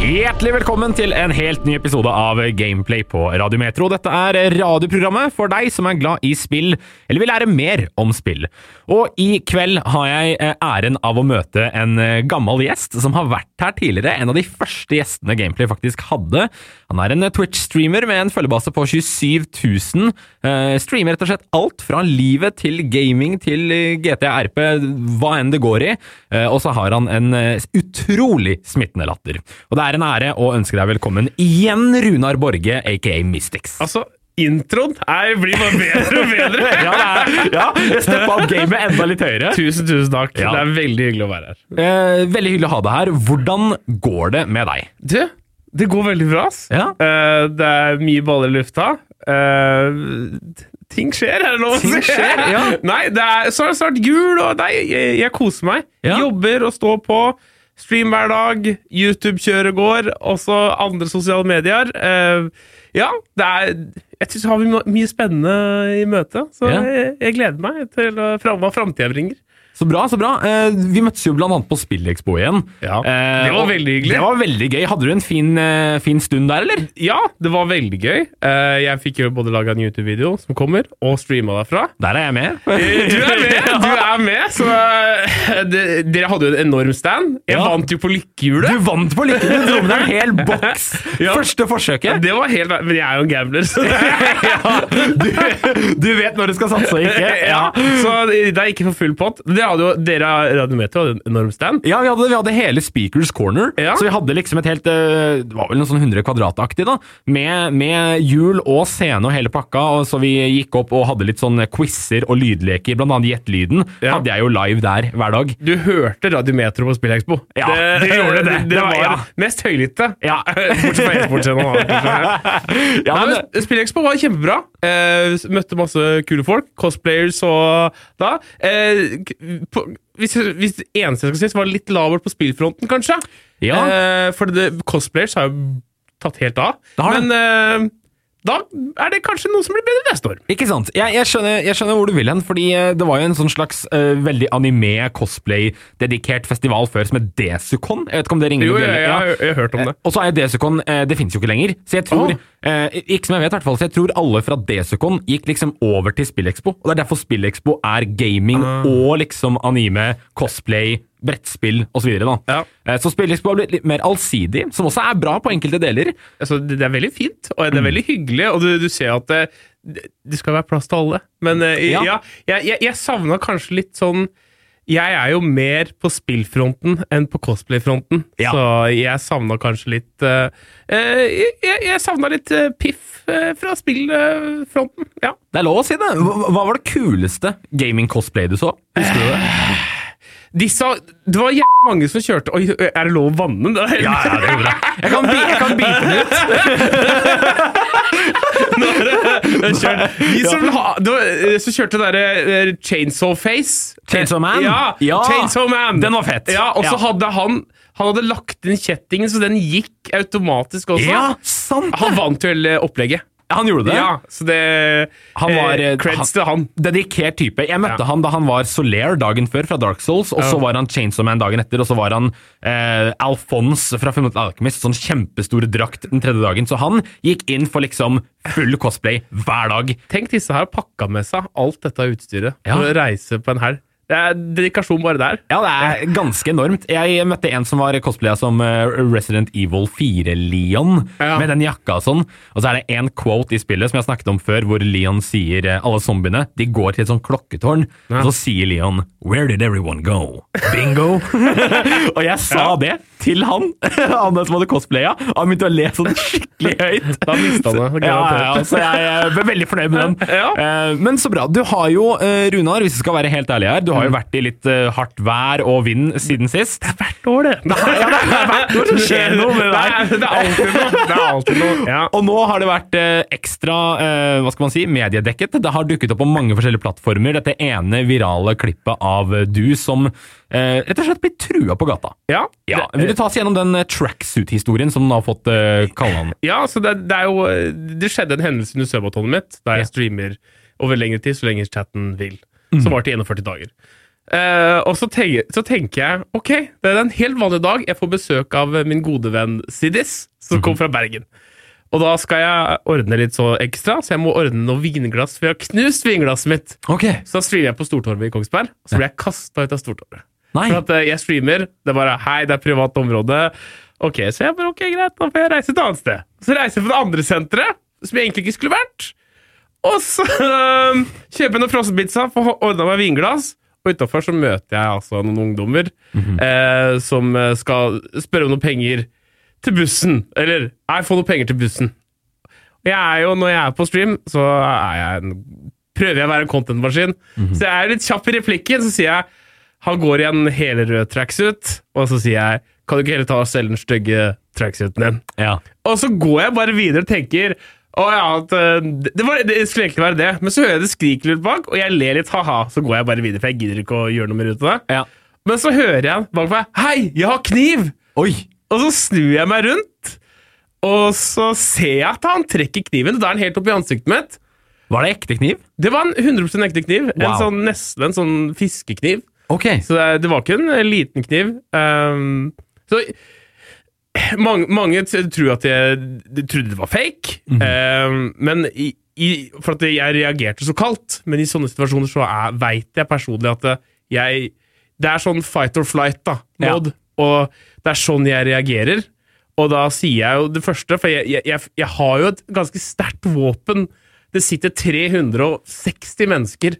Hjertelig velkommen til en helt ny episode av Gameplay på Radiometro. Dette er radioprogrammet for deg som er glad i spill, eller vil lære mer om spill. Og i kveld har jeg eh, æren av å møte en eh, gammel gjest som har vært her tidligere. En av de første gjestene Gameplay faktisk hadde. Han er en eh, Twitch-streamer med en følgebase på 27 000. Eh, Streamer rett og slett alt fra livet til gaming til eh, GTA RP, hva enn det går i. Eh, Og så har han en eh, utrolig smittende latter. Og det er en ære å ønske deg velkommen igjen, Runar Borge, aka Mystics. Altså, introen er, blir bare bedre og bedre. Ja, det er, ja jeg steppa opp gamet enda litt høyere. Tusen, tusen takk. Ja. Det er veldig hyggelig å være her. Eh, veldig hyggelig å ha deg her. Hvordan går det med deg? Du, det går veldig bra, ass. Ja. Eh, det er mye baller i lufta. Eh, ting skjer, er det lov å si? Ting skjer, ja. Nei, det er snart, snart jul, og nei, jeg, jeg koser meg. Ja. Jobber og står på. Stream hver dag, YouTube-kjøret går, også andre sosiale medier. Eh, ja, det er Jeg syns vi har mye- mye spennende i møte, så Ja. jeg, jeg gleder meg til å- fra- hva framtida bringer. Så bra, så bra. Eh, vi møttes jo blant annet på Spillekspo igjen. Ja, Eh, det var og- veldig hyggelig. Det var veldig gøy. Hadde du en fin, eh, fin stund der, eller? Ja, det var veldig gøy. Eh, jeg fikk jo både laga en YouTube-video som kommer, og streama derfra. Der er jeg med. Du er med! Du er med så eh, det, dere hadde jo en enorm stand. Jeg Ja. vant jo på lykkehjulet. Du vant på lykken! Du dro med deg en hel boks! Ja. Første forsøket. Det var helt Men jeg er jo en gambler, så, Du, du vet når du skal satse og ikke. ja. så eh, det er ikke for full pott. Dere hadde jo dere Radiometer hadde en enorm stand. Ja, vi hadde, vi hadde hele Speakers Corner, Ja. så vi hadde liksom et helt eh, Det var vel noe sånn 100 kvadrataktig, da, med, med hjul og scene og hele pakka. Og så vi gikk opp og hadde litt sånn quizer og lydleker, blant annet Gjett lyden. Ja. Hadde jeg jo live der hver dag. Du hørte Radiometer på Spillekspo. Ja, det gjorde det. Det, Det var- var ja. mest høylytte. Ja. Bortsett fra e-sportscenen. da. Ja, Nei, men, men Spillekspo var kjempebra. Eh, møtte masse kule folk. Cosplayers og da. Eh, k- på, hvis, hvis det eneste jeg skal si, så var det litt labert på spillfronten, kanskje. Ja. Eh, for det, cosplayers har jo tatt helt av. Det har det. men eh, da er det kanskje noe som blir bedre neste år. Ikke sant. Jeg, jeg, skjønner, jeg skjønner hvor du vil hen, fordi eh, det var jo en sånn slags eh, veldig anime-cosplay-dedikert festival før som het Desucon. Jeg vet ikke om det ringer Jo, noen jeg, bjeller? jeg, Ja. har- jeg har hørt om det. Eh, Og så er Desicon eh, Det finnes jo ikke lenger. Så jeg tror Åh. eh, Ikke som jeg vet, i hvert fall. Så jeg tror alle fra Desicon gikk liksom over til Spillekspo. Og det er derfor Spillekspo er gaming Ah. og liksom anime, cosplay, brettspill osv. Ja. Eh, så Spillekspo har blitt litt mer allsidig, som også er bra på enkelte deler. Altså, det, det er veldig fint, og det er Mm. veldig hyggelig, og du, du ser at det, det det skal være plass til alle. Men eh, Ja. ja, jeg, jeg, jeg savna kanskje litt sånn Jeg er jo mer på spillfronten enn på cosplayfronten, Ja. så jeg savna kanskje litt eh, eh, Jeg, jeg savna litt eh, piff eh, fra spillfronten, ja. Det er lov å si det. Hva, hva var det kuleste gaming-cosplay du så? Husker du det? Disse, det var jævlig mange som kjørte Oi, er det lov å vanne? Det er- ja, det går bra. Jeg kan, bi- jeg kan bite den ut. Jeg kjørte, de som, ha, det var, eh, som kjørte det derre eh, Chainsaw Face. Chainsaw Man? Ja, Ja, Chainsaw Man. den var fett. Ja, Og så Ja. hadde han Han hadde lagt inn kjettingen, så den gikk automatisk også. Ja, sant! Han vant jo hele opplegget. Han gjorde det. Ja, så det Han var, eh, eh, Creds til han. Dedikert type. Jeg møtte Ja. han da han var Solaire dagen før fra Dark Souls, og så var han Chainsaw Man dagen etter, og så var han eh, Alphonse fra Fullmetal Alchemist, sånn kjempestor drakt den tredje dagen. Så han gikk inn for liksom full cosplay hver dag. Tenk disse her har pakka med seg alt dette utstyret Ja. for å reise på en helg. Det er dedikasjon bare der. Ja, det er ganske enormt. Jeg møtte en som var cosplaya som eh, Resident Evil 4-Leon, Ja. med den jakka og sånn. Og så er det en quote i spillet som jeg har snakket om før, hvor Leon sier eh, alle zombiene de går til et sånt klokketårn, og så sier Leon 'Where did everyone go?' Bingo! og jeg sa det til han, han som hadde cosplaya, og han begynte å le sånn skikkelig høyt. Da mista han det. Ja, ja, garantert. ja, så jeg eh, ble veldig fornøyd med den. Ja. Eh, Men så bra. Du har jo, eh, Runar, hvis vi skal være helt ærlige her, du har jo vært i litt eh, hardt vær og vind siden sist. Det er hvert år, det. Ja, det er hvert år det skjer noe med deg. Nei, det er alltid noe. Det er alltid noe. Ja. Og nå har det vært eh, ekstra eh, hva skal man si, mediedekket. Det har dukket opp på mange forskjellige plattformer, dette ene virale klippet av eh, du som eh, rett og slett blir trua på gata. Ja, Ja, det- Vil du ta oss gjennom den eh, tracksuit-historien som den har fått eh, kallenavn? Ja, så det, det er jo Det skjedde en hendelse under søvnbåtholdet mitt, der jeg streamer over lengre tid så lenge chatten vil. som var til 41 dager. Eh, og så, tenker- så tenker jeg ok, det er en helt vanlig dag. Jeg får besøk av eh, min gode venn Siddis, som kom fra Bergen. Og da skal jeg ordne litt så ekstra, så jeg må ordne noen vinglass, for jeg har knust vinglasset mitt. Ok. Så da streamer jeg på Stortorvet i Kongsberg, og så blir jeg kasta ut av Stortorvet. Nei. For at eh, jeg streamer, det er bare hei, det er privat område. Ok, så jeg bare ok, greit, da får jeg reise et annet sted. Så reiser jeg på det andre senteret, som jeg egentlig ikke skulle vært. Og så øhm, kjøper jeg noen frossenpizza, får ordna meg vinglass. Og utafor så møter jeg altså noen ungdommer eh, som eh, skal spørre om noen penger til bussen. Eller jeg får noen penger til bussen. Jeg er jo, når jeg er på stream, så er jeg en, prøver jeg å være en content-maskin. Så jeg er litt kjapp i replikken, så sier jeg han går i en helrød tracksuit, og så sier jeg kan du ikke heller ta og selge den stygge tracksuiten din? Ja. Og så går jeg bare videre og tenker å ja, at, eh, det, det var, det skulle egentlig være det. Men så hører jeg det skriker litt bak, og jeg ler litt ha-ha. Så går jeg bare videre, for jeg gidder ikke å gjøre noe mer ut av det. Ja. Men så hører jeg bak meg 'Hei, jeg har kniv!' Oi. Og så snur jeg meg rundt, og så ser jeg at han trekker kniven. Og da er den helt opp i ansiktet mitt. Var det ekte kniv? Det var en 100 ekte kniv. En Wow. sånn, nesten en sånn fiskekniv. Ok. Så det, det var ikke en liten kniv. Ehm, så mange, mange t- tror at jeg, de trodde det var fake, Mhm. Ehm, men i, i, for at jeg reagerte så kaldt. Men i sånne situasjoner så er- vet jeg personlig at det- jeg Det er sånn fight or flight, da. Ja. Mod, Og det er sånn jeg reagerer. Og da sier jeg jo det første, for jeg, jeg, jeg, jeg har jo et ganske sterkt våpen. Det sitter 360 mennesker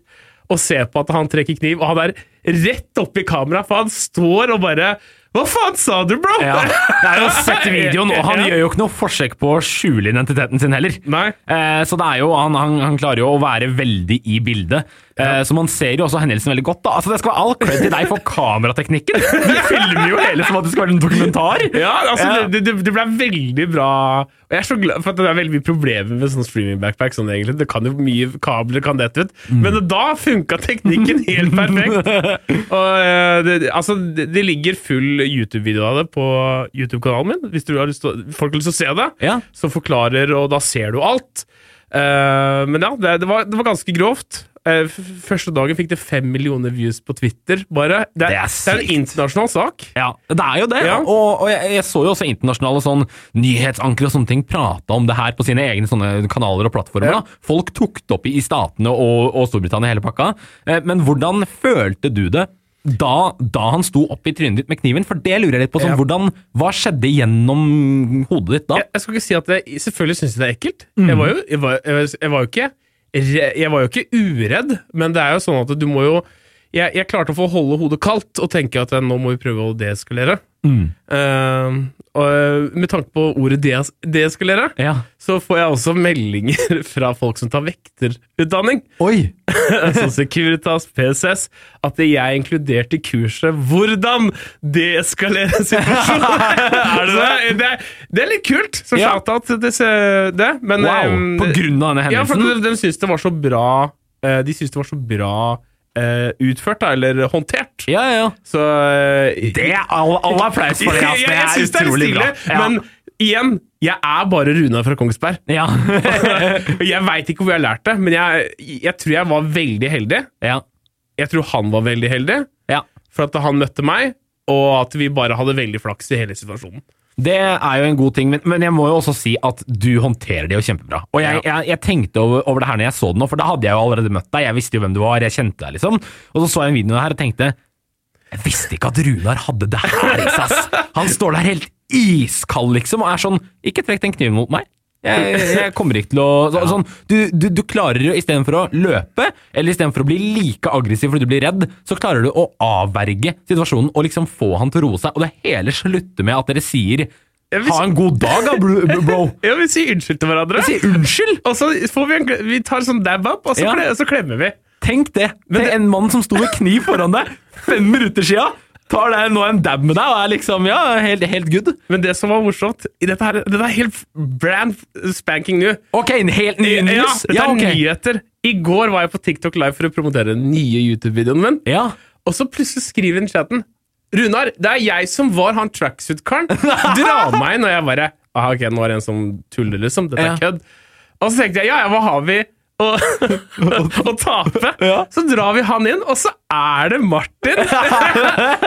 og ser på at han trekker kniv, og han er rett opp i kamera, for han står og bare Hva faen sa du, bro? Ja. Det er jo sett i videoen, og han gjør jo ikke noe forsøk på å skjule identiteten sin heller. Nei. Eh, så det er jo, han, han, han klarer jo å være veldig i bildet. Eh, så man ser jo også hendelsen veldig godt. da. Altså, Det skal være all cred til deg for kamerateknikken! Du filmer jo hele som at det skal være en dokumentar! Ja, altså, Ja. Det, det, det ble veldig bra. Og jeg er så glad for at det er veldig mye problemer med sånn streaming-backpack. Sånn, egentlig. det kan jo mye kabler kan dette ut. Mm. Men da funka teknikken helt perfekt. Og, eh, det, det- altså, det, det ligger full YouTube-video av det på YouTube-kanalen min. Hvis du har lyst til, å- folk har lyst til å se det, Ja. som forklarer, og da ser du alt. Eh, men ja, det, det, var, det var ganske grovt. Eh, f- første dagen fikk det fem millioner views på Twitter, bare. Det Det er, det er er, sykt. en internasjonal sak. Ja, det er jo det. Ja. Og, og jeg, jeg så jo også internasjonale sånn nyhetsankere og sånne ting prate om det her på sine egne sånne kanaler og plattformer. Ja. Da. Folk tok det opp i, i statene og, og Storbritannia hele pakka. Eh, men hvordan følte du det da, da han sto opp i trynet ditt med kniven? For det lurer jeg litt på. Sånn, Ja. hvordan, hva skjedde gjennom hodet ditt da? jeg, jeg skal ikke si at jeg, Selvfølgelig syns jeg det er ekkelt. Jeg, var jo, jeg, var, jeg, var- jeg var jo ikke re- Jeg var jo ikke uredd, men det er jo sånn at du må jo Jeg, jeg klarte å få holde hodet kaldt og tenke at eh, nå må vi prøve å deeskalere. Eh, og med tanke på ordet dees- deeskalere, Ja. så får jeg også meldinger fra folk som tar vekterutdanning. Oi! Sånn Securitas, PSS, at jeg inkluderte i kurset 'Hvordan deeskalere situasjonen'. er det, det? Det, er- det er litt kult, så Ja. shout out til disse- det. Men, Wow! ehm, På grunn av denne ja, for hendelsen? de, de syns det var så bra eh, De syns det var så bra eh, utført, da, eller håndtert. Ja, ja, ja. Så eh, Det er all, all applaus for det, ass. jeg, Det jeg er syns det er litt utrolig stille, bra. Ja. men igjen, jeg er bare Runa fra Kongsberg. ja. jeg veit ikke hvor jeg har lært det, men jeg, jeg tror jeg var veldig heldig. ja. Jeg tror han var veldig heldig. ja. for at han møtte meg, og at vi bare hadde veldig flaks i hele situasjonen. Det er jo en god ting, men, men jeg må jo også si at du håndterer det jo kjempebra. Og jeg, jeg, jeg tenkte over, over det her når jeg så det nå, for da hadde jeg jo allerede møtt deg. Jeg visste jo hvem du var, jeg kjente deg, liksom. Og så så jeg en video her og tenkte Jeg visste ikke at Runar hadde det her i seg, ass. Han står der helt iskald, liksom, og er sånn Ikke trekk den kniven mot meg. Jeg, jeg kommer ikke til å så, sånn, du, du, du klarer jo istedenfor å løpe, eller istedenfor å bli like aggressiv fordi du blir redd, så klarer du å avverge situasjonen og liksom få han til å roe seg. Og det hele slutter med at dere sier Jeg vil- 'ha en god dag', da, bro. bro. Ja, vi sier unnskyld til hverandre. Jeg sier unnskyld! Og så får vi, en, vi tar sånn dab up, og så, Ja. kle, og så klemmer vi. Tenk det! Tenk Men det- en mann som sto med kniv foran deg fem minutter sia, tar deg nå en dab med deg og er liksom ja, helt, helt good. Men det som var morsomt i dette her, Dette er helt brand spanking new. Ok, en helt ny Ja, news. dette er nyheter. I går var jeg på TikTok Live for å promotere den nye YouTube-videoen min. Ja. Og så plutselig skriver hun i chatten Runar, det er jeg som var han tracksuit-karen. Dra meg inn. Og jeg bare ah, Ok, nå er det en som tuller, liksom. Dette Ja. er kødd. Og så tenkte jeg ja, ja, hva har vi? og, og tape. Ja. Så drar vi han inn, og så er det Martin!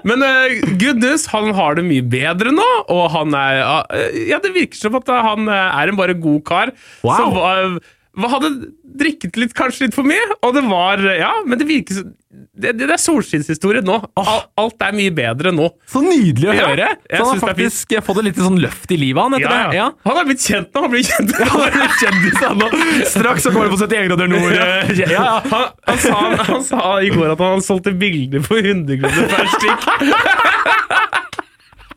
Men eh, good news, han har det mye bedre nå, og han er eh, Ja, det virker som at han eh, er en bare god kar. Wow. Som var, var- hadde drikket litt, kanskje litt for mye, og det var eh, Ja, men det virker som Det, det er solskinnshistorie nå. Al- Alt er mye bedre nå. Så nydelig å Ja, høre! jeg Så han har synes det er fint. faktisk fått et lite sånn løft i livet, han, etter Ja, det. ja. Ja. Han er blitt kjent nå. Han blir kjent Han er en kjendis, han nå. Straks så kommer det på 71 grader nord. eh, Ja, ja. Han, han, sa, han sa i går at han solgte bilder for 100 kroner per stykk.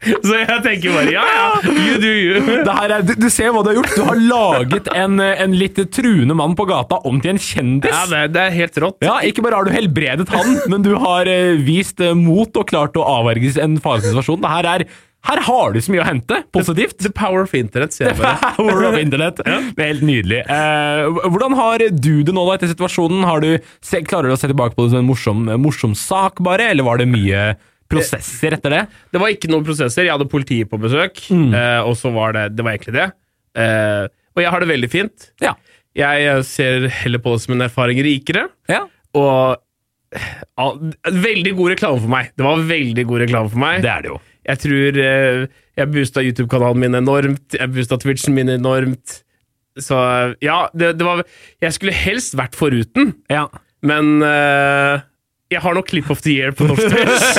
Så jeg tenker bare ja, ja, you do you. Det her er, du, du ser hva du har gjort. Du har laget en, eh, en litt truende mann på gata om til en kjendis. Ja, det, det er helt rått. Ja, Ikke bare har du helbredet han, men du har eh, vist eh, mot og klart å avverge en farlig situasjon. Det her, er, her har du så mye å hente. Positivt. The power of internet, sier jeg bare. Power of internet. Det er helt nydelig. Eh, hvordan har du det nå da etter situasjonen? Har du, se, klarer du å se tilbake på det som en morsom, morsom sak, bare? Eller var det mye prosesser etter det? Det var ikke noen prosesser. Jeg hadde politiet på besøk, eh, og så var det Det var egentlig det. Eh, og jeg har det veldig fint. Ja. Jeg eh, ser heller på det som en erfaring rikere. ja. Og ja, Veldig god reklame for meg. Det var veldig god reklame for meg. Det er det jo. Jeg tror eh, jeg boosta YouTube-kanalen min enormt. Jeg boosta Twitchen min enormt. Så eh, ja, det, det var Jeg skulle helst vært foruten, Ja. men eh, jeg har nok Clip of the Year på norsk Twitch.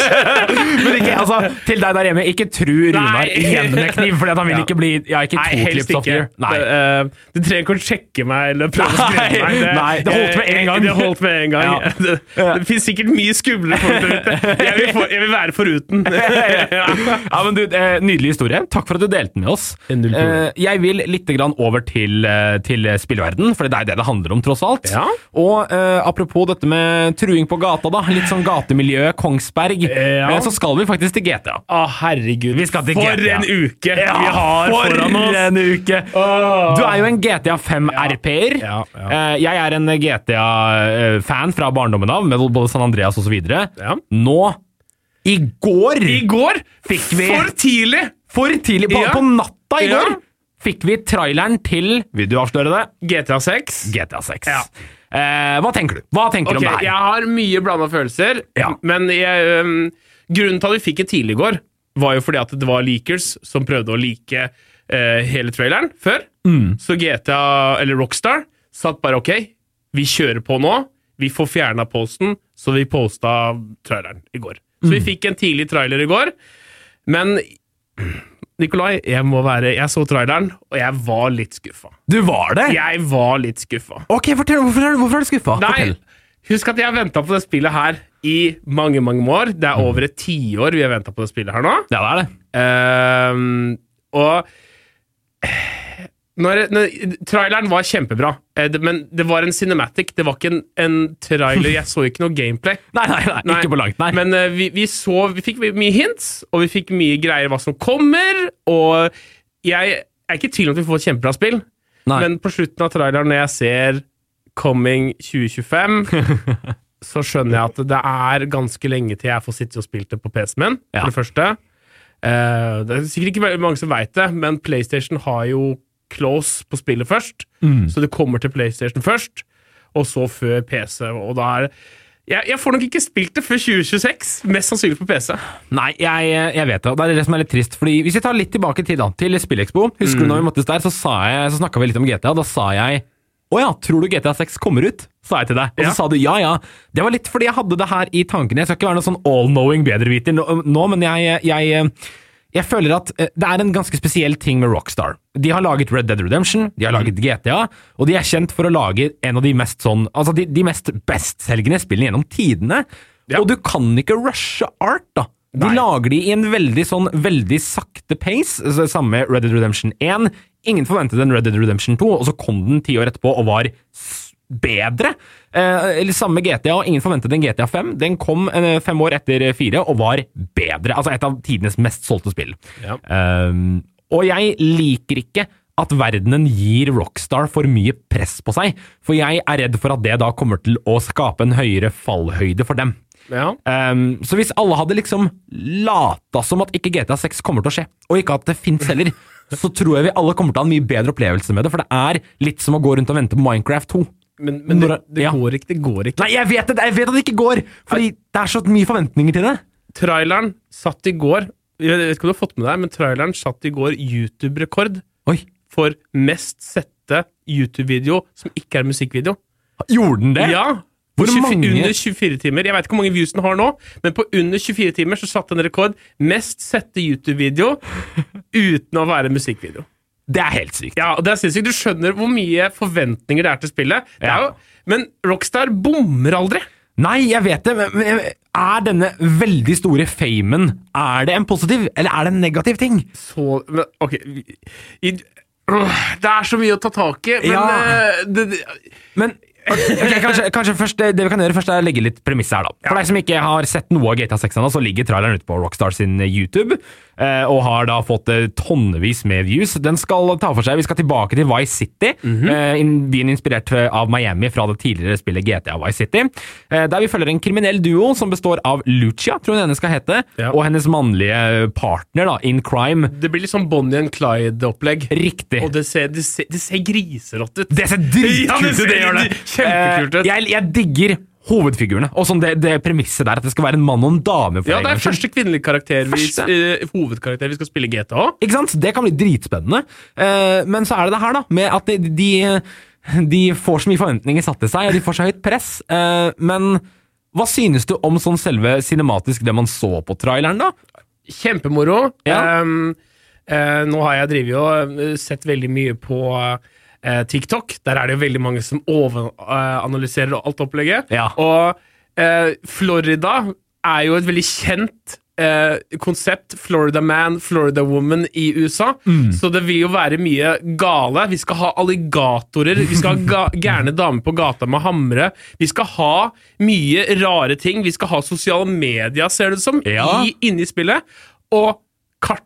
Men ikke, altså, til deg der hjemme, ikke tru Runar Nei. igjen med kniv, for han vil Ja. ikke bli Ja, ikke Nei, to helst clips of the ikke. year. Nei. Det, eh, du trenger ikke å sjekke meg eller prøve å Nei, skremme meg. nei, det holdt med en eh, gang. Det holdt med en gang. Ja. Det, det finnes sikkert mye skumle folk der ute. Jeg vil, for, jeg vil være foruten. ja. Ja, men du, eh, Nydelig historie. Takk for at du delte den med oss. Null problem. Eh, Jeg vil litt grann over til, eh, til spillverden, for det er det det handler om, tross alt. Ja. Og eh, apropos dette med truing på gata, da. Litt sånn gatemiljø, Kongsberg. Ja. Eh, Så skal vi faktisk til GTA. Å, herregud. Vi skal til for GTA. en uke vi har for foran oss! en uke! Du er jo en GTA 5 RP-er. Ja, ja. Eh, Jeg er en GTA-fan eh, fra barndommen av, med både San Andreas osv. Ja. Nå, i går I går Fikk vi- For tidlig! For tidlig på, Ja. på natta i Ja. går fikk vi traileren til Vil du avsløre det? GTA 6. GTA 6. Ja. Eh, hva tenker du? Hva tenker Ok, du om det her? jeg har mye blanda følelser, Ja. men jeg, øhm, grunnen til at vi fikk det tidlig i går, var jo fordi at det var leakers som prøvde å like eh, hele traileren før. Mm. Så GTA, eller Rockstar, satt bare ok, vi kjører på nå. Vi får fjerna posten, så vi posta traileren i går. Så Mm. vi fikk en tidlig trailer i går. Men Nikolai, jeg må være Jeg så traileren, og jeg var litt skuffa. Du var det? Jeg var litt skuffa. Ok, fortell, Hvorfor er, hvorfor er du skuffa? Nei, Fortell. husk at jeg har venta på det spillet her i mange, mange år. Det Mm. er over et tiår vi har venta på det spillet her nå. Ja, det er det. Ehm, og eh, når, når, Traileren var kjempebra, eh, det- men det var en cinematic. Det var ikke en, en trailer. Jeg så ikke noe gameplay. Nei, nei, nei, Nei, ikke på langt, nei. Men eh, vi, vi så Vi fikk mye hints, og vi fikk mye greier hva som kommer, og jeg er ikke i tvil om at vi får et kjempebra spill, Nei. men på slutten av traileren, når jeg ser Coming 2025, så skjønner jeg at det er ganske lenge til jeg får sitte og spilt det på PC-en min, Ja. for det første. Eh, det er sikkert ikke veldig mange som veit det, men PlayStation har jo close på spillet først, Mm. så det kommer til PlayStation først, og så før PC, og da er det jeg, jeg får nok ikke spilt det før 2026, mest sannsynlig på PC. Nei, jeg, jeg vet det. og Det er det som er litt trist. fordi Hvis vi tar litt tilbake i tid, da, til Spillekspo Husker du når vi møttes der, så, sa jeg- så snakka vi litt om GTA. Da sa jeg å ja, tror du GTA 6 kommer ut? sa jeg til deg. Og Ja. så sa du ja ja. Det var litt fordi jeg hadde det her i tankene. Jeg skal ikke være noen sånn all-knowing bedreviter nå, nå, men jeg, jeg jeg føler at eh, det er en ganske spesiell ting med Rockstar. De har laget Red Dead Redemption, de har laget GTA, og de er kjent for å lage en av de mest sånn Altså de, de mest bestselgende spillene gjennom tidene. Ja. Og du kan ikke rushe art, da. De Nei. lager de i en veldig sånn veldig sakte pace. så det Samme med Red Dead Redemption 1. Ingen forventet en Red Dead Redemption 2, og så kom den ti år etterpå og var s- bedre. Eh, eller samme GTA, og ingen forventet en GTA 5. Den kom eh, fem år etter 4 og var bedre. Altså et av tidenes mest solgte spill. Ja. Ehm, og jeg liker ikke at verdenen gir Rockstar for mye press på seg, for jeg er redd for at det da kommer til å skape en høyere fallhøyde for dem. Ja. Ehm, så hvis alle hadde liksom lata som at ikke GTA 6 kommer til å skje, og ikke at det fins heller, så tror jeg vi alle kommer til å ha en mye bedre opplevelse med det, for det er litt som å gå rundt og vente på Minecraft 2. Men, men det, det Ja. går ikke. Det går ikke. Nei, jeg vet, det, jeg vet at det ikke går! Fordi det er så mye forventninger til det. Traileren satt i går Jeg vet ikke om du har fått med deg, men traileren satt i går YouTube-rekord Oi, for mest sette YouTube-video som ikke er musikkvideo. Gjorde den det? Ja! Hvor På 24 mange- Under 24 timer. Jeg vet ikke hvor mange views den har nå, men på under 24 timer så satt en rekord. Mest sette YouTube-video uten å være musikkvideo. Det er helt sykt. Ja, og det er sinnssykt. Du skjønner hvor mye forventninger det er til spillet. Det er Ja. jo, men Rockstar bommer aldri. Nei, jeg vet det, men- men er denne veldig store famen Er det en positiv, eller er det en negativ ting? Så men, Ok. vi- I, øh, det er så mye å ta tak i, men Ja. eh, det, det, Men ok, kanskje, kanskje først, det, det vi kan gjøre først er å legge litt premisset her, da. For deg som ikke har sett noe av GTA 6 ennå, så ligger traileren ute på Rockstar sin YouTube, eh, og har da fått eh, tonnevis med views. Den skal ta for seg Vi skal tilbake til Vice City, Mhm. eh, in- byen inspirert eh, av Miami fra det tidligere spillet GTA Vice City, eh, der vi følger en kriminell duo som består av Lucia, tror jeg den ene skal hete, Ja. og hennes mannlige partner da, in crime. det blir litt sånn Bonnie and Clyde-opplegg. Riktig. Og det ser, det ser, det ser griserått ut. Det ser Ja, det dritkult ut, ser det gjør det. kjempekult ut. Eh, Jeg, jeg digger hovedfigurene, og sånn det, det premisset der at det skal være en mann og en dame. For Ja, en det er gangs skyld. første kvinnelige karakter vi, Første. eh, hovedkarakter vi skal spille GTA. Ikke sant? Det kan bli dritspennende. Eh, Men så er det det her, da, med at de, de, de får så mye forventninger satt til seg, og de får så høyt press. Eh, Men hva synes du om sånn selve cinematisk det man så på traileren, da? Kjempemoro. Ja. Ehm, eh, nå har jeg drevet og eh, sett veldig mye på eh, TikTok. Der er det jo veldig mange som overanalyserer alt opplegget. Ja. Og eh, Florida er jo et veldig kjent eh, konsept. Florida man, Florida woman i USA. Mm. Så det vil jo være mye gale. Vi skal ha alligatorer. Vi skal ha ga gærne damer på gata med hamre. Vi skal ha mye rare ting. Vi skal ha sosiale medier, ser det ut som, Ja. i, inne i spillet. Og kartet,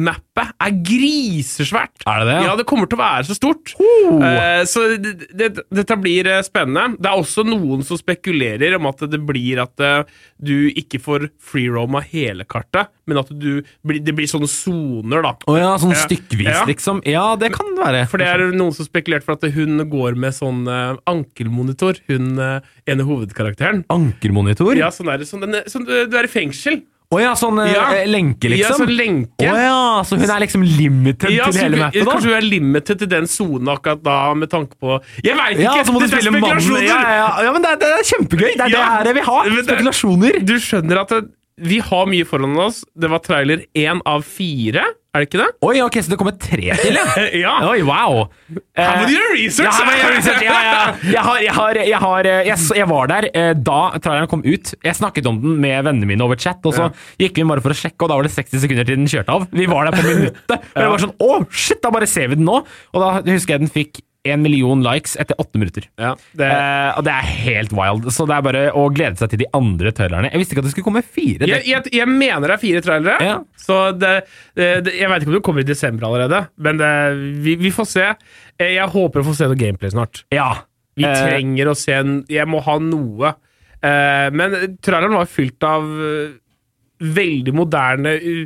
mappet, er grisesvært. Er det det, ja? Ja, det kommer til å være så stort. Eh, så det, det, dette blir eh, spennende. Det er også noen som spekulerer om at det blir at eh, du ikke får freeroma hele kartet, men at du, blir- det blir sånne soner, da. Å ja, sånn Ja. stykkevis, Ja. liksom. Ja, det kan det være. For det er noen som spekulerte for at hun går med sånn eh, ankelmonitor, hun eh, ene hovedkarakteren. Ankermonitor? Å Ja, ja. sånn er det. Sånn, den- sånn, du er i fengsel. sånn eh, Ja. lenke, Ja, liksom? sånn lenke. Å ja, så hun er liksom limited Ja, til så hele vi- mappet, da? Kanskje hun er limited til den sonen akkurat da, med tanke på Jeg veit ikke! Ja, så må du dette er spille mannen. spekulasjoner! Ja, ja, ja. ja, men det er, det er kjempegøy. Det er det Ja. her jeg vil ha. Men det- Spekulasjoner. Du skjønner at det, vi har mye foran oss. Det var trailer én av fire, er det ikke det? Oi, ok, så det kommer tre til, Eh, ja. ja. Oi, wow. Eh, Her må du gjøre research! Ja, her må jeg gjøre research. Ja, ja. Jeg, har, jeg, har, jeg, har, jeg, s- jeg var der eh, da traileren kom ut. Jeg snakket om den med vennene mine over chat, og så gikk vi bare for å sjekke, og da var det 60 sekunder til den kjørte av. Vi var der på minuttet. Og jeg var sånn, å, shit, da bare ser vi den nå. Og da husker jeg den fikk en million likes etter åtte minutter. Ja, det, Eh, og det er helt wild. Så det er bare å glede seg til de andre trailerne. Jeg visste ikke at det skulle komme fire. jeg, jeg, jeg mener det er fire trailere. Ja. Så det, det, det, jeg veit ikke om det kommer i desember allerede, men det, vi, vi får se. Eh, Jeg håper å få se noe gameplay snart. ja. Vi Eh, trenger å se en, Jeg må ha noe. Eh, men traileren var fylt av eh, veldig moderne eh,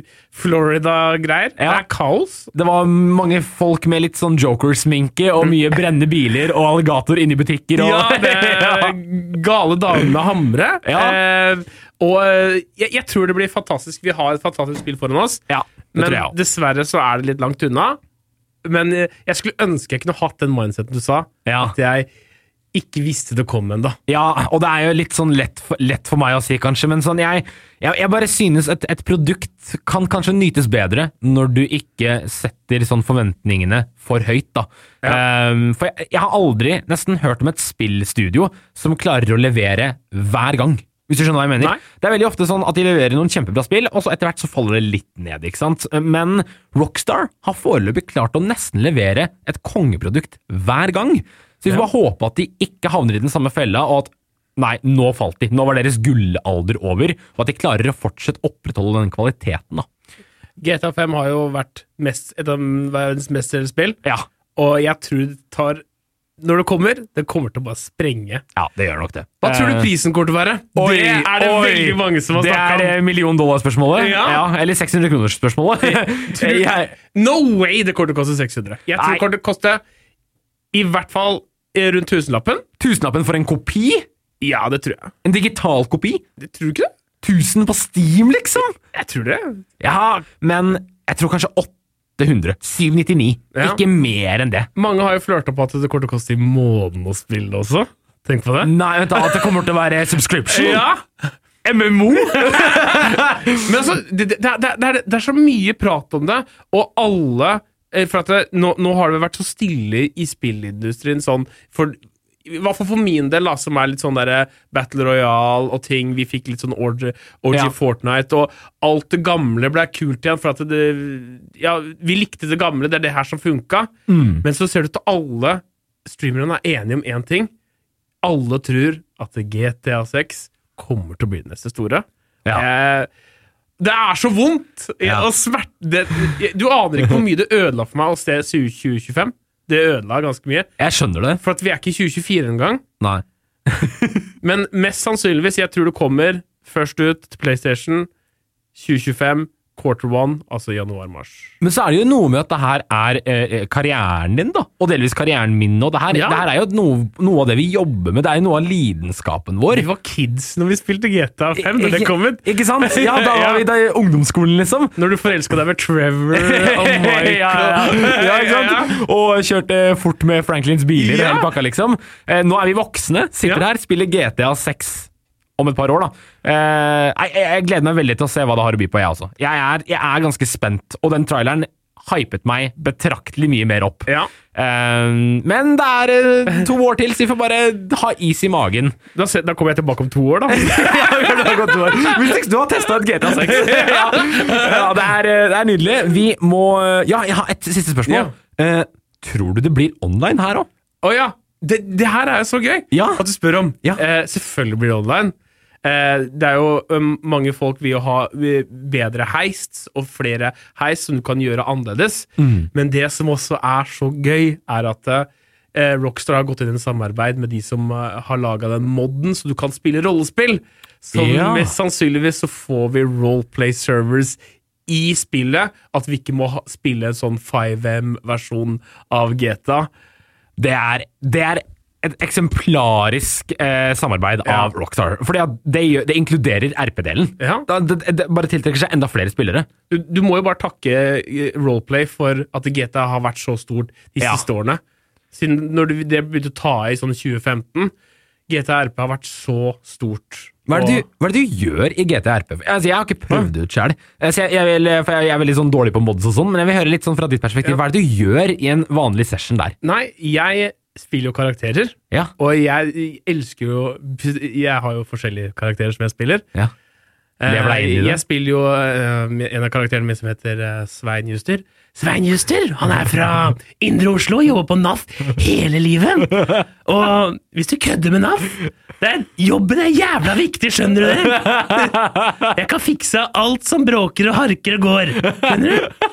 Florida-greier. Det Ja. er kaos. det var mange folk med litt sånn Joker-sminke og mye brennende biler og alligator inni butikker. Og, Ja, det Ja. er gale damer med hamre. Ja. Eh, og eh, jeg, jeg tror det blir fantastisk. Vi har et fantastisk spill foran oss. Ja, det men tror jeg også. dessverre så er det litt langt unna. Men eh, jeg skulle ønske jeg kunne hatt den mindseten du sa. Ja. At jeg ikke visste det kom ennå. ja, og det er jo litt sånn lett for, lett for meg å si, kanskje, men sånn jeg, jeg, jeg bare synes et, et produkt kan kanskje nytes bedre når du ikke setter sånn forventningene for høyt, da. Eh, for jeg, jeg har aldri nesten hørt om et spillstudio som klarer å levere hver gang. Hvis du skjønner hva jeg mener? Nei. Det er veldig ofte sånn at de leverer noen kjempebra spill, og så etter hvert så faller det litt ned, ikke sant? Men Rockstar har foreløpig klart å nesten levere et kongeprodukt hver gang. Så vi får bare håpe at de ikke havner i den samme fella, og at nei, nå falt de. Nå var deres gullalder over, og at de klarer å fortsette å opprettholde den kvaliteten, da. GTA 5 har jo vært mest, et av verdens mest selgte spill, Ja. og jeg tror det tar når det kommer, det kommer til å bare sprenge. Ja, det gjør nok det. Hva tror du prisen kommer til å være? Eh, Oi, det er det oi. veldig mange som har Det snakka om. er eh, million dollar-spørsmålet. Ja. eller 600 kroner-spørsmålet. Tror- Jeg- No way det kommer til å koste 600. Jeg tror Nei. det kommer til å koste i hvert fall eh, rundt tusenlappen. Tusenlappen for en kopi? Ja, det tror jeg. En digital kopi? Det, tror du ikke det? Tusen på Steam, liksom? Jeg tror det. Ja, men jeg tror kanskje 800. 799. Ja. Ikke mer enn det. Mange har jo flørta på at det kommer til å koste i måneden å spille det også. Tenk på det. Nei, vent da, at det kommer til å være subscription. Ja! MMO! Men altså, det, det, det, er- det, er, det er så mye prat om det, og alle eh, For at det, nå, nå har det vært så stille i spillindustrien sånn for i hvert fall for min del, da, som er litt sånn der Battle Royale og ting. Vi fikk litt sånn OG, OG Ja. Fortnite, og alt det gamle ble kult igjen. For at det Ja, vi likte det gamle, det er det her som funka. Men så ser du at alle streamerne er enige om én ting alle tror at GTA 6 kommer til å bli det neste store. Eh, det er så vondt! Ja. Og smert, det, du aner ikke hvor mye det ødela for meg å se 2025. Det ødela ganske mye. Jeg skjønner det. For at vi er ikke i 2024 engang. Nei. Men mest sannsynligvis, jeg tror det kommer først ut til PlayStation 2025, quarter one, altså januar-mars. Men så er det jo noe med at det her er eh, karrieren din, da. Og delvis karrieren min. Og det her, Ja. det her er jo noe, noe av det vi jobber med. Det er jo noe av lidenskapen vår. Vi var kids når vi spilte GTA 5 da det Ikke- kom ut. Ikke sant? Ja, da var vi da i ungdomsskolen, liksom. Når du forelska deg med Trevor og Michael. ja, ja, ja. ja, ikke sant? Og kjørte fort med Franklins biler og Ja. hele pakka, liksom. Eh, nå er vi voksne, sitter Ja. her, spiller GTA 6 om et par år, da. Eh, nei, jeg, jeg gleder meg veldig til å se hva det har å by på, jeg også. Jeg er, jeg er ganske spent, og den traileren hypet meg betraktelig mye mer opp. Ja. Eh, men det er eh, to år til, så vi får bare ha is i magen. Da, se- da kommer jeg tilbake om to år, da. Hvis du har testa et GTA 6. ja, ja det, er, eh, det er nydelig. Vi må eh, Ja, jeg har et siste spørsmål. Eh, tror du det blir online her òg? Å ja! Det, det her er jo så gøy Ja. at du spør om. Ja. Eh, selvfølgelig blir det online. Eh, det er jo um, mange folk vil jo ha eh, bedre heis og flere heis som du kan gjøre annerledes. Mm. Men det som også er så gøy, er at eh, Rockstar har gått inn i en samarbeid med de som eh, har laga den moden, så du kan spille rollespill. Så Ja. mest sannsynligvis så får vi roleplay servers i spillet. At vi ikke må ha, spille en sånn 5M-versjon av GTA. Det, er- det er et eksemplarisk eh, samarbeid Ja. av Rockstar. Fordi at det, gjør, det inkluderer RP-delen. Ja. Da- Det, det bare tiltrekker seg enda flere spillere. du, du må jo bare takke eh, Roleplay for at GTA har vært så stort de Ja. siste årene. Siden når du, det begynte å ta i sånn 2015. GTA RP har vært så stort. Hva er, det Og- du, hva er det du gjør i GTRP? Altså, jeg har ikke prøvd det ut sjøl. Altså, jeg, jeg, vil- for jeg jeg er veldig sånn dårlig på mods og sånn, men jeg vil høre litt sånn fra ditt perspektiv. Hva er det du gjør i en vanlig session der? Nei, jeg spiller jo karakterer. Ja. Og jeg elsker jo Jeg har jo forskjellige karakterer som jeg spiller. ja. Lever deg inn i det? Jeg spiller jo eh, en av karakterene mine som heter eh, Svein Juster. Svein Juster han er fra Indre Oslo, jobber på NAF hele livet. Og hvis du kødder med NAF det er, Jobben er jævla viktig, skjønner du det? Jeg kan fikse alt som bråker og harker og går. Skjønner du?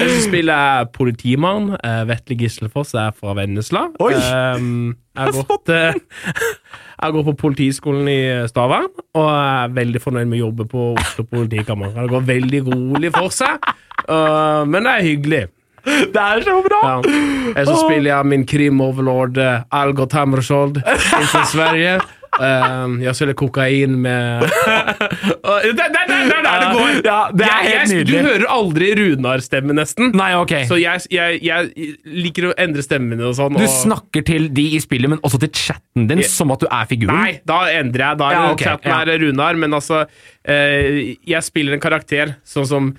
Jeg spiller politimann. Eh, Vetle Gislefoss er fra Vennesla. Oi! Jeg har gått, eh, jeg går på politiskolen i eh, Stavern, og er veldig fornøyd med å jobbe på Oslo politikammer. Det går veldig rolig for seg, øh, men det er hyggelig. Det er så bra! Ja. Jeg Eh, så spiller jeg min krimoverlord eh, Algot Hammershold fra Sverige. Ehm, jeg selger kokain med Det er der det går! Ja, det er Jeg- helt jeg- nydelig. Du hører aldri Runar-stemme, nesten. Nei, ok. Så jeg, jeg, jeg liker å endre stemmene og sånn. Du og... snakker til de i spillet, men også til chatten din, Ja. som at du er figuren. Nei, da endrer jeg. Da er Mm. Ja, det- ok, chatten ja. er Runar, men altså eh, Jeg spiller en karakter sånn som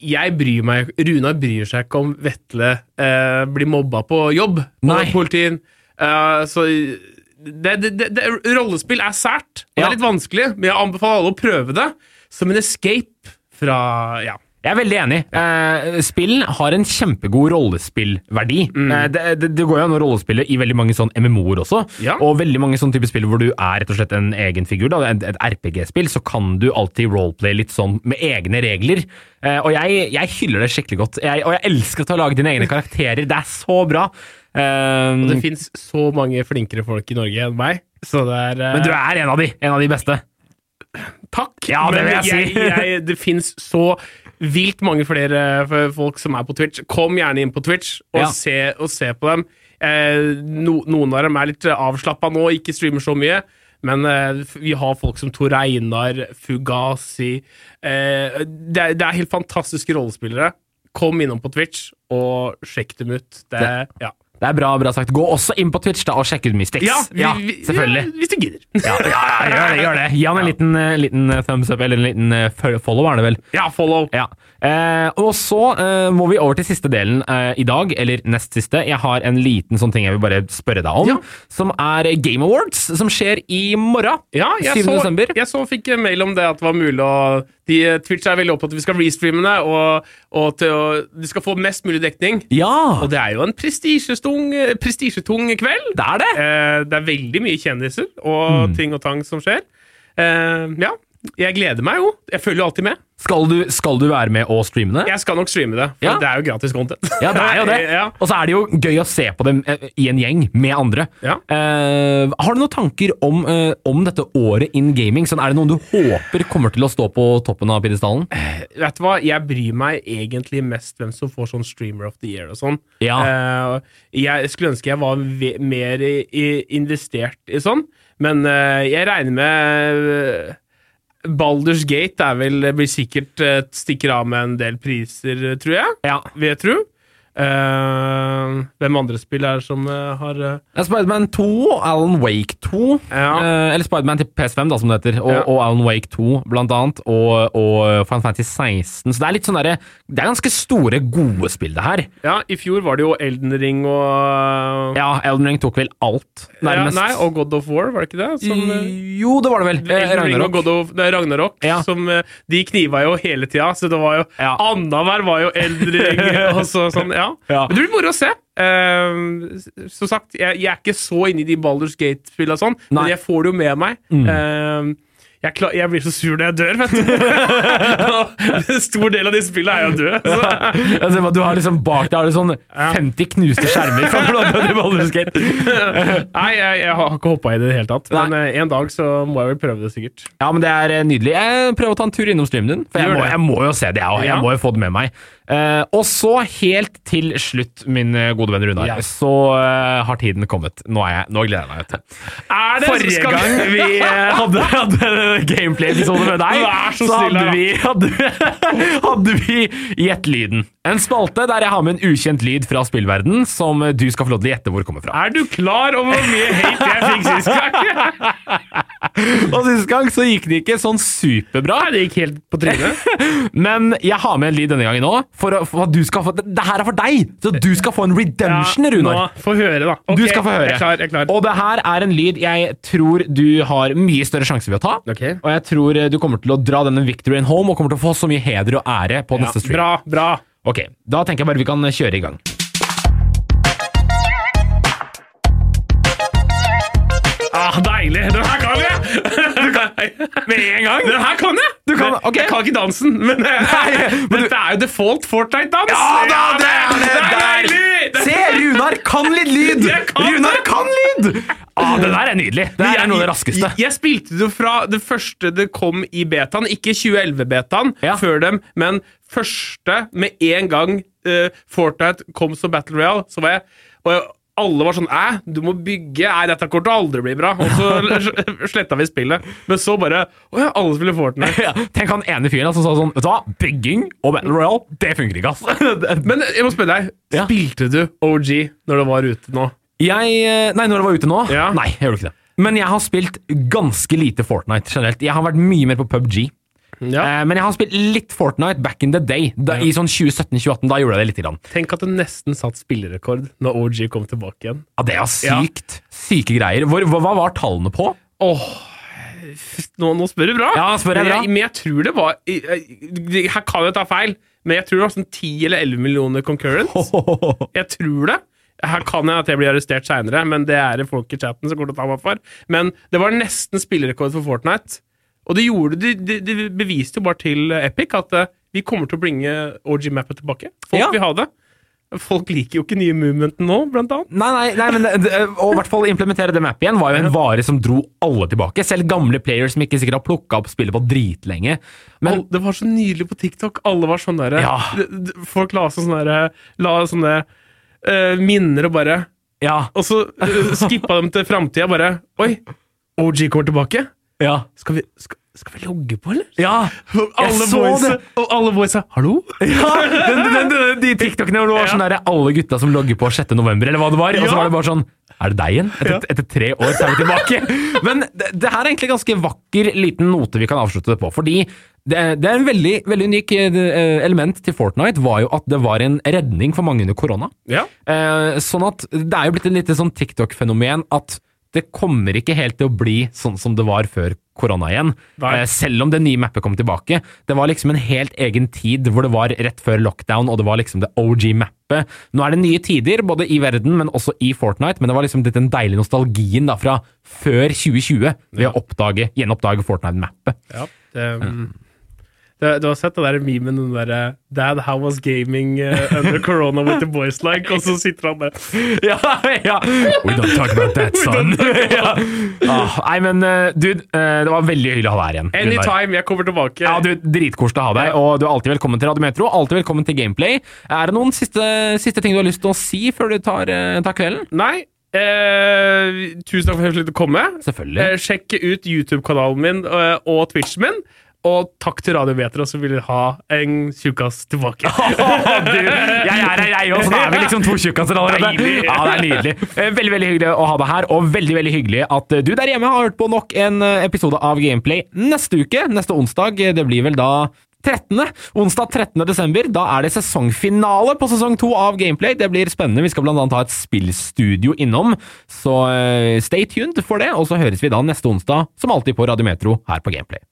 jeg bryr meg Runar bryr seg ikke om Vetle eh, blir mobba på jobb på Nei. politien. Eh, så det, det, det, det, rollespill er sært. og Det Ja. er litt vanskelig, men jeg anbefaler alle å prøve det som en escape fra Ja. Jeg er veldig enig. Eh, spill har en kjempegod rollespillverdi. Mm. Eh, det, det, det går jo an å rollespille i veldig mange sånn MMO-er også, Ja. og veldig mange sånne type spill hvor du er rett og slett en egen figur. Da. Et, et RPG-spill, så kan du alltid roleplay litt sånn med egne regler. Eh, og jeg, jeg hyller det skikkelig godt. Jeg, og jeg elsker at du har laget dine egne karakterer. Det er så bra! Eh, Det fins så mange flinkere folk i Norge enn meg, så det er eh, men du er en av de. En av de beste. Takk, Ja, det men vil jeg si. jeg, det finnes så vilt mange flere eh, folk som er på Twitch. Kom gjerne inn på Twitch og, Ja. se, og se på dem. Eh, no, noen av dem er litt avslappa nå, ikke streamer så mye. Men eh, f- vi har folk som Tor Einar, Fugazi eh, det, er, det er helt fantastiske rollespillere. Kom innom på Twitch og sjekk dem ut. Det, Det- ja. Det er bra, bra sagt. Gå også inn på Twitch da og sjekk ut Mystics. Ja, vi- vi- selvfølgelig. Ja, hvis du gidder. Ja, ja, ja, gjør det, gjør det. Gi han en liten, eh, liten eh, thumbs up, eller en liten eh, fol- follow, er det vel. Ja, follow. Ja. Eh, og så eh, må vi over til siste delen eh, i dag, eller nest siste. Jeg har en liten sånn ting jeg vil bare spørre deg om, Ja. som er Game Awards, som skjer i morgen. Ja, jeg 7. så, desember. jeg så fikk en mail om det at det var mulig å de, eh, Twitch er veldig opptatt av at vi skal restreame det, og, og til å, du skal få mest mulig dekning. Ja, Og det er jo en prestisjetung eh, prestisjetung kveld. det er det! Eh, det er veldig mye kjendiser og Mm. ting og tang som skjer. Eh, ja. Jeg gleder meg jo. Jeg følger jo alltid med. Skal du, skal du være med og streame det? Jeg skal nok streame det, for Ja. det er jo gratis content. Ja, det er jo det. ja. Og så er det jo gøy å se på dem eh, i en gjeng med andre. Ja. Eh, har du noen tanker om, eh, om dette året in gaming? Sånn, er det noen du håper kommer til å stå på toppen av pidestallen? Vet du hva, jeg bryr meg egentlig mest hvem som får sånn Streamer of the Year og sånn. Eh, jeg skulle ønske jeg var ve- mer i, i investert i sånn, men eh, jeg regner med eh, Baldur's Gate er vel, blir sikkert eh, stikker av med en del priser, eh, tror jeg. ja. Vil jeg tro. Eh, hvem andre spill er det som eh, har eh, Ja, Spiderman 2, Alan Wake 2 Ja. eh, Eller Spiderman til PS5 da, som det heter og, Ja. og Alan Wake 2 blant annet Og, og Final Fantasy 16 Så det er litt sånn der Det er ganske store, gode spill det her Ja, i fjor var det jo Elden Ring og eh, Ja, Elden Ring tok vel alt Nærmest Ja, nei, og God of War, var det ikke det? Som, eh, Jo, det var det vel Eh, Elden Ring og Ragnarok God of, det er Ragnarok, Ja. som eh, de kniva jo hele tida. Så det var jo Ja. Annenhver var jo Elden Ring. og så, sånn, ja. Ja. Men det blir moro å se. Eh, s- som sagt, jeg, jeg er ikke så inne i de Balders Gate-spilla sånn, Nei. Mm. men jeg får det jo med meg. Eh, jeg, kla- jeg blir så sur når jeg dør, vet du. Og en stor del av de spilla er jo døde. Så. Jeg ser på at Du har liksom bak deg har du sånn 50 knuste skjermer Fra blant annet Baldur's Gate Nei, jeg, jeg har ikke hoppa i det i det hele tatt. Men eh, en dag så må jeg vel prøve det, sikkert. Ja, men det er eh, nydelig. Jeg prøver å ta en tur innom streamen din, for jeg Gjør må, det. jeg må jo se det, jeg òg. Jeg Ja. må jo få det med meg. Eh, og så, helt til slutt, min eh, gode venn Runar, Ja. så eh, har tiden kommet. Nå, er jeg, nå gleder jeg meg. vet du. Er det Forrige skal- gang vi eh, hadde, hadde eh, gameplay-episode med deg, Du er så snill, hadde vi, hadde, hadde vi Gjett lyden. En spalte der jeg har med en ukjent lyd fra spillverden som eh, du skal få lov til å gjette hvor kommer fra. Er du klar over hvor mye hate jeg fikk sist gang? Og Sist gang så gikk det ikke sånn superbra. Nei, det gikk helt på trynet. Men jeg har med en lyd denne gangen òg. For, å- for at du skal få Det det her er for deg! Så du skal få en redemption, Runar. Nå, Få høre, da. Du Ok, skal få høre. Jeg er klar. jeg er klar. Og det her er en lyd jeg tror du har mye større sjanse ved å ta. Ok. Og jeg tror eh, du kommer til å dra denne victoryen home og kommer til å få så mye heder og ære på Ja, neste stream. bra, bra. Ok, Da tenker jeg bare vi kan eh, kjøre i gang. Ah, deilig! Den her kan jeg! Med en gang? Den her kan jeg! Du kan- ok. Jeg kan ikke dansen, men, dette er jo default Fortnite-dans! Ah, er deilig! Se, Runar kan litt lyd! Jeg kan det! Runar kan lyd! Ah, det der er nydelig. Det Men der er noe av det raskeste. Jeg, jeg spilte det fra det første det kom i betaen, ikke 2011-betaen Ja. før dem, men første med en gang eh, Fortnite kom som Battle Royale, så var jeg og jeg, alle var sånn Æ, du må bygge. Æ, dette kortet aldri blir bra. Og så sletta vi spillet. Men så bare Å ja, alle spiller Fortnite. Ja, tenk han ene fyren da, som sa sånn Vet du hva, bygging og Battle Royale, det funker ikke, ass. Men jeg må spørre deg, Ja. spilte du OG når det var ute nå? Jeg eh, Nei, når det var ute nå? Ja. Nei, jeg gjorde ikke det. Men jeg har spilt ganske lite Fortnite generelt. Jeg har vært mye mer på PubG. Ja. Eh, men jeg har spilt litt Fortnite back in the day. Da, I sånn 2017-2018. Da gjorde jeg det lite grann. Tenk at det nesten satt spillerekord når OG kom tilbake igjen. Ja, det var Ja. sykt. Syke greier. Hvor, hva, hva var tallene på? Åh, nå, nå spør du bra. Ja, spør jeg men bra. Jeg, men jeg tror det var jeg- jeg- Her kan jeg ta feil, men jeg tror det var sånn 10 eller 11 millioner concurrent. Jeg tror det. Her kan jeg at jeg blir arrestert seinere, men det er det folk i chatten som kommer til å ta meg for. Men det var nesten spillerekord for Fortnite. Og det gjorde de, de, de beviste jo bare til Epic at eh, vi kommer til å bringe OG-mappet tilbake. Folk Ja. vil ha det. Folk liker jo ikke nye movementene nå, blant annet. Nei, nei, nei, men eh, det- det- og i hvert fall implementere det mappet igjen var jo en vare som dro alle tilbake. Selv gamle players som ikke sikkert har plukka opp spillet på dritlenge. Men Al- det var så nydelig på TikTok. Alle var sånn derre Ja. d- d- Folk la sånn sånne derre La sånne eh, minner og bare Ja. Og så eh, skippa dem til framtida bare Oi, OG kommer tilbake. Ja. Skal vi, skal, skal vi logge på, eller? ja. Og alle Jeg så boysa, det. Og alle boysa Hallo? ja. Den, den, den, de TikTokene hvor det var Ja. sånn der, alle gutta som logger på 6. november, eller hva det var. Og Ja. så var det bare sånn Er det deg igjen? Etter, etter tre år så er vi tilbake. Men det, det her er egentlig en ganske vakker liten note vi kan avslutte det på. Fordi det, det er en veldig, veldig unik eh, element til Fortnite var jo at det var en redning for mange under korona. Ja. Eh, sånn at det er jo blitt en lite sånn TikTok-fenomen at det kommer ikke helt til å bli sånn som det var før korona igjen. Nei. Eh, selv om det nye mappet kom tilbake. Det var liksom en helt egen tid hvor det var rett før lockdown, og det var liksom det OG-mappet. Nå er det nye tider, både i verden, men også i Fortnite. Men det var liksom litt den deilige nostalgien da fra før 2020 ved å oppdage, gjenoppdage Fortnite-mappet. Ja, det, det, du har sett den der memen, den derre Dad, how was gaming eh, under corona with the boys like? Og så sitter han der. ja, ja. We don't talk about that, son. Sånn. ja. ah, nei, men eh, dude, eh, det var veldig hyggelig å ha deg her igjen. Gunnar. Anytime jeg kommer tilbake. Ja, du, Dritkoselig å ha deg, og du er alltid velkommen til Radiometro. Alltid velkommen til Gameplay. Er det noen siste, siste ting du har lyst til å si før du tar, eh, tar kvelden? Nei. Eh, tusen takk for at jeg fikk lov til å komme. Selvfølgelig. Eh, sjekk ut YouTube-kanalen min eh, og Twitchen min. Og takk til Radiometro som ville ha en tjukkas tilbake. du, jeg er her, jeg òg, så da er vi liksom to tjukkaser allerede. Deilig. Ja, det er nydelig. Eh, Veldig veldig hyggelig å ha deg her, og veldig veldig hyggelig at eh, du der hjemme har hørt på nok en eh, episode av Gameplay neste uke. Neste onsdag. Eh, Det blir vel da 13. Onsdag 13. desember. Da er det sesongfinale på sesong to av Gameplay. Det blir spennende. Vi skal blant annet ha et spillstudio innom, så eh, stay tuned for det. Og så høres vi da neste onsdag, som alltid på Radiometro her på Gameplay.